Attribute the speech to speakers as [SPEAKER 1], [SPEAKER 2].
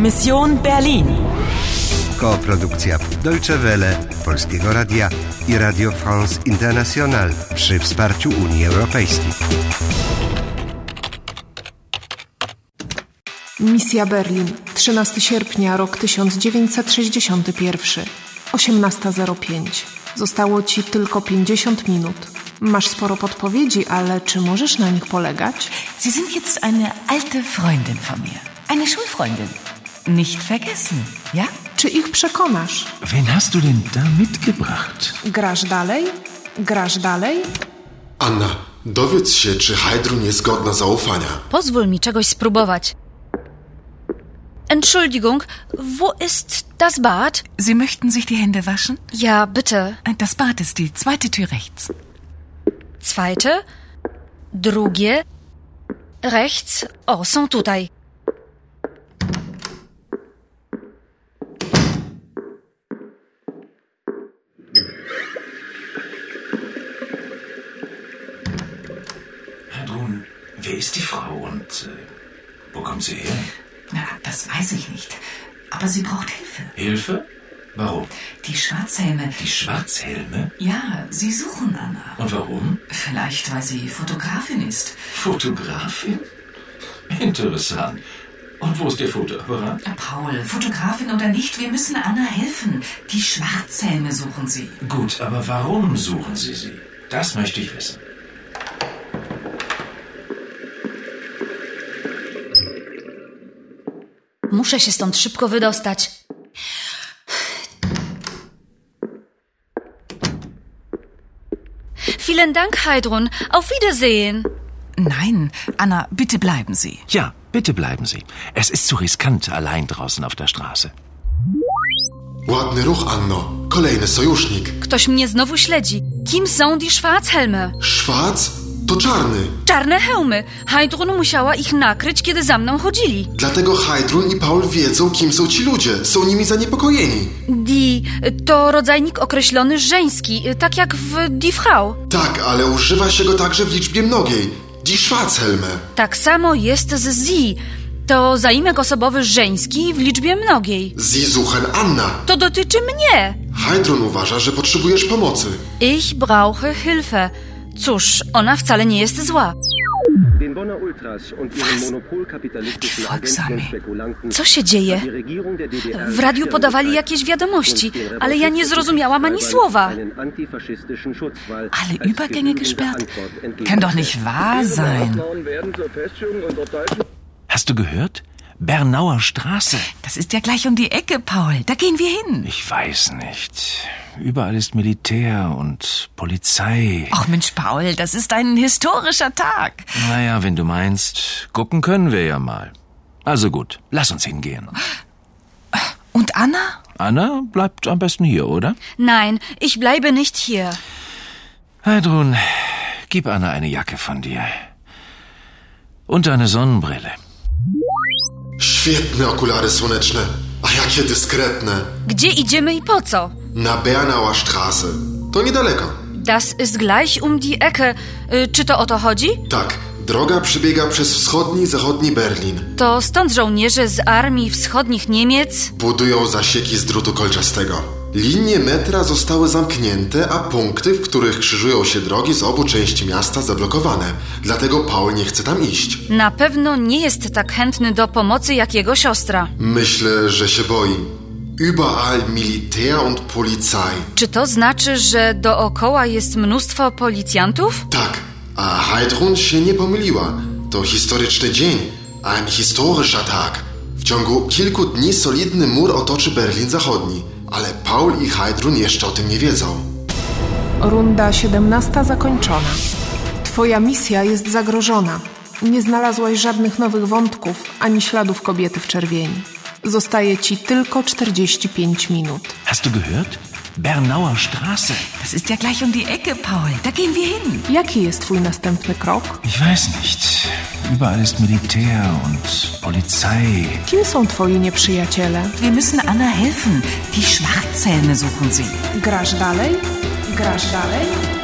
[SPEAKER 1] Mission Berlin.
[SPEAKER 2] Koprodukcja Deutsche Welle, Polskiego Radia i Radio France International przy wsparciu Unii Europejskiej.
[SPEAKER 3] Misja Berlin, 13 sierpnia, rok 1961, 18.05. Zostało Ci tylko 50 minut. Masz sporo podpowiedzi, ale czy możesz na nich polegać?
[SPEAKER 4] Sie sind jetzt eine alte Freundin von mir. Eine Schulfreundin. Nicht vergessen, ja?
[SPEAKER 3] Czy ich przekonasz?
[SPEAKER 5] Wen hast du denn da mitgebracht?
[SPEAKER 3] Grasz dalej? Grasz dalej?
[SPEAKER 6] Anna, dowiedz się, czy Heidrun jest godna zaufania.
[SPEAKER 7] Pozwól mi czegoś spróbować. Entschuldigung, wo ist das Bad?
[SPEAKER 4] Sie möchten sich die Hände waschen?
[SPEAKER 7] Ja, bitte.
[SPEAKER 4] Das Bad ist die zweite Tür rechts.
[SPEAKER 7] Zweite, drugie, rechts. O, są tutaj.
[SPEAKER 5] Herr Brun, wer ist die Frau und äh, wo kommt sie her?
[SPEAKER 4] Na, das weiß ich nicht. Aber sie braucht Hilfe.
[SPEAKER 5] Hilfe? Warum?
[SPEAKER 4] Die Schwarzhelme.
[SPEAKER 5] Die Schwarzhelme?
[SPEAKER 4] Ja, sie suchen Anna.
[SPEAKER 5] Und warum?
[SPEAKER 4] Vielleicht, weil sie Fotografin ist.
[SPEAKER 5] Fotografin? Interessant. Und wo ist Ihr Fotoapparat?
[SPEAKER 4] Paul, Fotografin oder nicht, wir müssen Anna helfen. Die Schwarzhelme suchen sie.
[SPEAKER 5] Gut, aber warum suchen Sie sie? Das möchte ich wissen.
[SPEAKER 7] Muszę się stąd szybko wydostać. Vielen Dank, Heidrun. Auf Wiedersehen.
[SPEAKER 4] Nein, Anna, bitte bleiben Sie.
[SPEAKER 5] Ja, bitte bleiben Sie. Es ist zu riskant allein draußen auf der Straße.
[SPEAKER 6] Ładny ruch, Anno. Kolejny sojusznik.
[SPEAKER 7] Ktoś mnie znowu śledzi. Kim są die Schwarzhelme?
[SPEAKER 6] Szwac to czarny.
[SPEAKER 7] Czarne hełmy. Heidrun musiała ich nakryć, kiedy za mną chodzili.
[SPEAKER 6] Dlatego Heidrun i Paul wiedzą, kim są ci ludzie. Są nimi zaniepokojeni.
[SPEAKER 7] Die to rodzajnik określony żeński, tak jak w die Frau.
[SPEAKER 6] Tak, ale używa się go także w liczbie mnogiej. Die Schwarzhelme.
[SPEAKER 7] Tak samo jest z sie. To zaimek osobowy żeński w liczbie mnogiej.
[SPEAKER 6] Sie suchen Anna.
[SPEAKER 7] To dotyczy mnie.
[SPEAKER 6] Heidrun uważa, że potrzebujesz pomocy.
[SPEAKER 7] Ich brauche Hilfe. Cóż, ona wcale nie jest zła.
[SPEAKER 8] Den Bonner Ultras und ihren monopolkapitalistischen
[SPEAKER 4] Die
[SPEAKER 8] Agenten
[SPEAKER 4] Volksarmee.
[SPEAKER 8] und Spekulanten
[SPEAKER 7] Co się dzieje?
[SPEAKER 8] die Regierung der DDR
[SPEAKER 7] W radiu podawali jakieś wiadomości, ale ja nie zrozumiałam ani słowa.
[SPEAKER 8] einen antifaschistischen Schutzwall
[SPEAKER 4] Alle
[SPEAKER 8] als
[SPEAKER 4] Übergänge
[SPEAKER 8] genügende
[SPEAKER 4] gesperrt?
[SPEAKER 8] Antwort entgegenstellt.
[SPEAKER 4] Kann doch nicht wahr sein.
[SPEAKER 5] Hast du gehört? Bernauer Straße.
[SPEAKER 4] Das ist ja gleich um die Ecke, Paul. Da gehen wir hin.
[SPEAKER 5] Ich weiß nicht. Überall ist Militär und Polizei.
[SPEAKER 4] Ach Mensch, Paul, das ist ein historischer Tag.
[SPEAKER 5] Naja, wenn du meinst, gucken können wir ja mal. Also gut, lass uns hingehen.
[SPEAKER 4] Und Anna?
[SPEAKER 5] Anna bleibt am besten hier, oder?
[SPEAKER 7] Nein, ich bleibe nicht hier.
[SPEAKER 5] Heidrun, gib Anna eine Jacke von dir. Und eine Sonnenbrille.
[SPEAKER 6] Świetne okulary słoneczne. A jakie dyskretne.
[SPEAKER 7] Gdzie idziemy i po co?
[SPEAKER 6] Na Bernauer Straße. To niedaleko.
[SPEAKER 7] Das ist gleich um die Ecke. Y, Czy to o to chodzi?
[SPEAKER 6] Tak, droga przebiega przez wschodni i zachodni Berlin.
[SPEAKER 7] To stąd żołnierze z armii wschodnich Niemiec.
[SPEAKER 6] Budują zasieki z drutu kolczastego. Linie metra zostały zamknięte, a punkty, w których krzyżują się drogi z obu części miasta zablokowane. Dlatego Paul nie chce tam iść.
[SPEAKER 7] Na pewno nie jest tak chętny do pomocy jak jego siostra.
[SPEAKER 6] Myślę, że się boi. Überall Militär und Polizei.
[SPEAKER 7] Czy to znaczy, że dookoła jest mnóstwo policjantów?
[SPEAKER 6] Tak, a Heidrun się nie pomyliła. To historyczny dzień, ein historischer Tag. tak. W ciągu kilku dni solidny mur otoczy Berlin Zachodni, ale Paul i Heidrun jeszcze o tym nie wiedzą.
[SPEAKER 3] Runda 17 zakończona. Twoja misja jest zagrożona. Nie znalazłaś żadnych nowych wątków ani śladów kobiety w czerwieni. Zostaje ci tylko 45 minut.
[SPEAKER 5] Hast du gehört? Bernauer Straße.
[SPEAKER 4] Das ist ja gleich um die Ecke, Paul. Da gehen wir hin.
[SPEAKER 3] Jaki jest Twój następny krok?
[SPEAKER 5] Ich weiß nicht. Überall ist Militär und Polizei.
[SPEAKER 3] Kim są Twoi nieprzyjaciele?
[SPEAKER 4] Wir müssen Anna helfen. Die Schwarzhelme suchen sie.
[SPEAKER 3] Grasz dalej? Grasz dalej?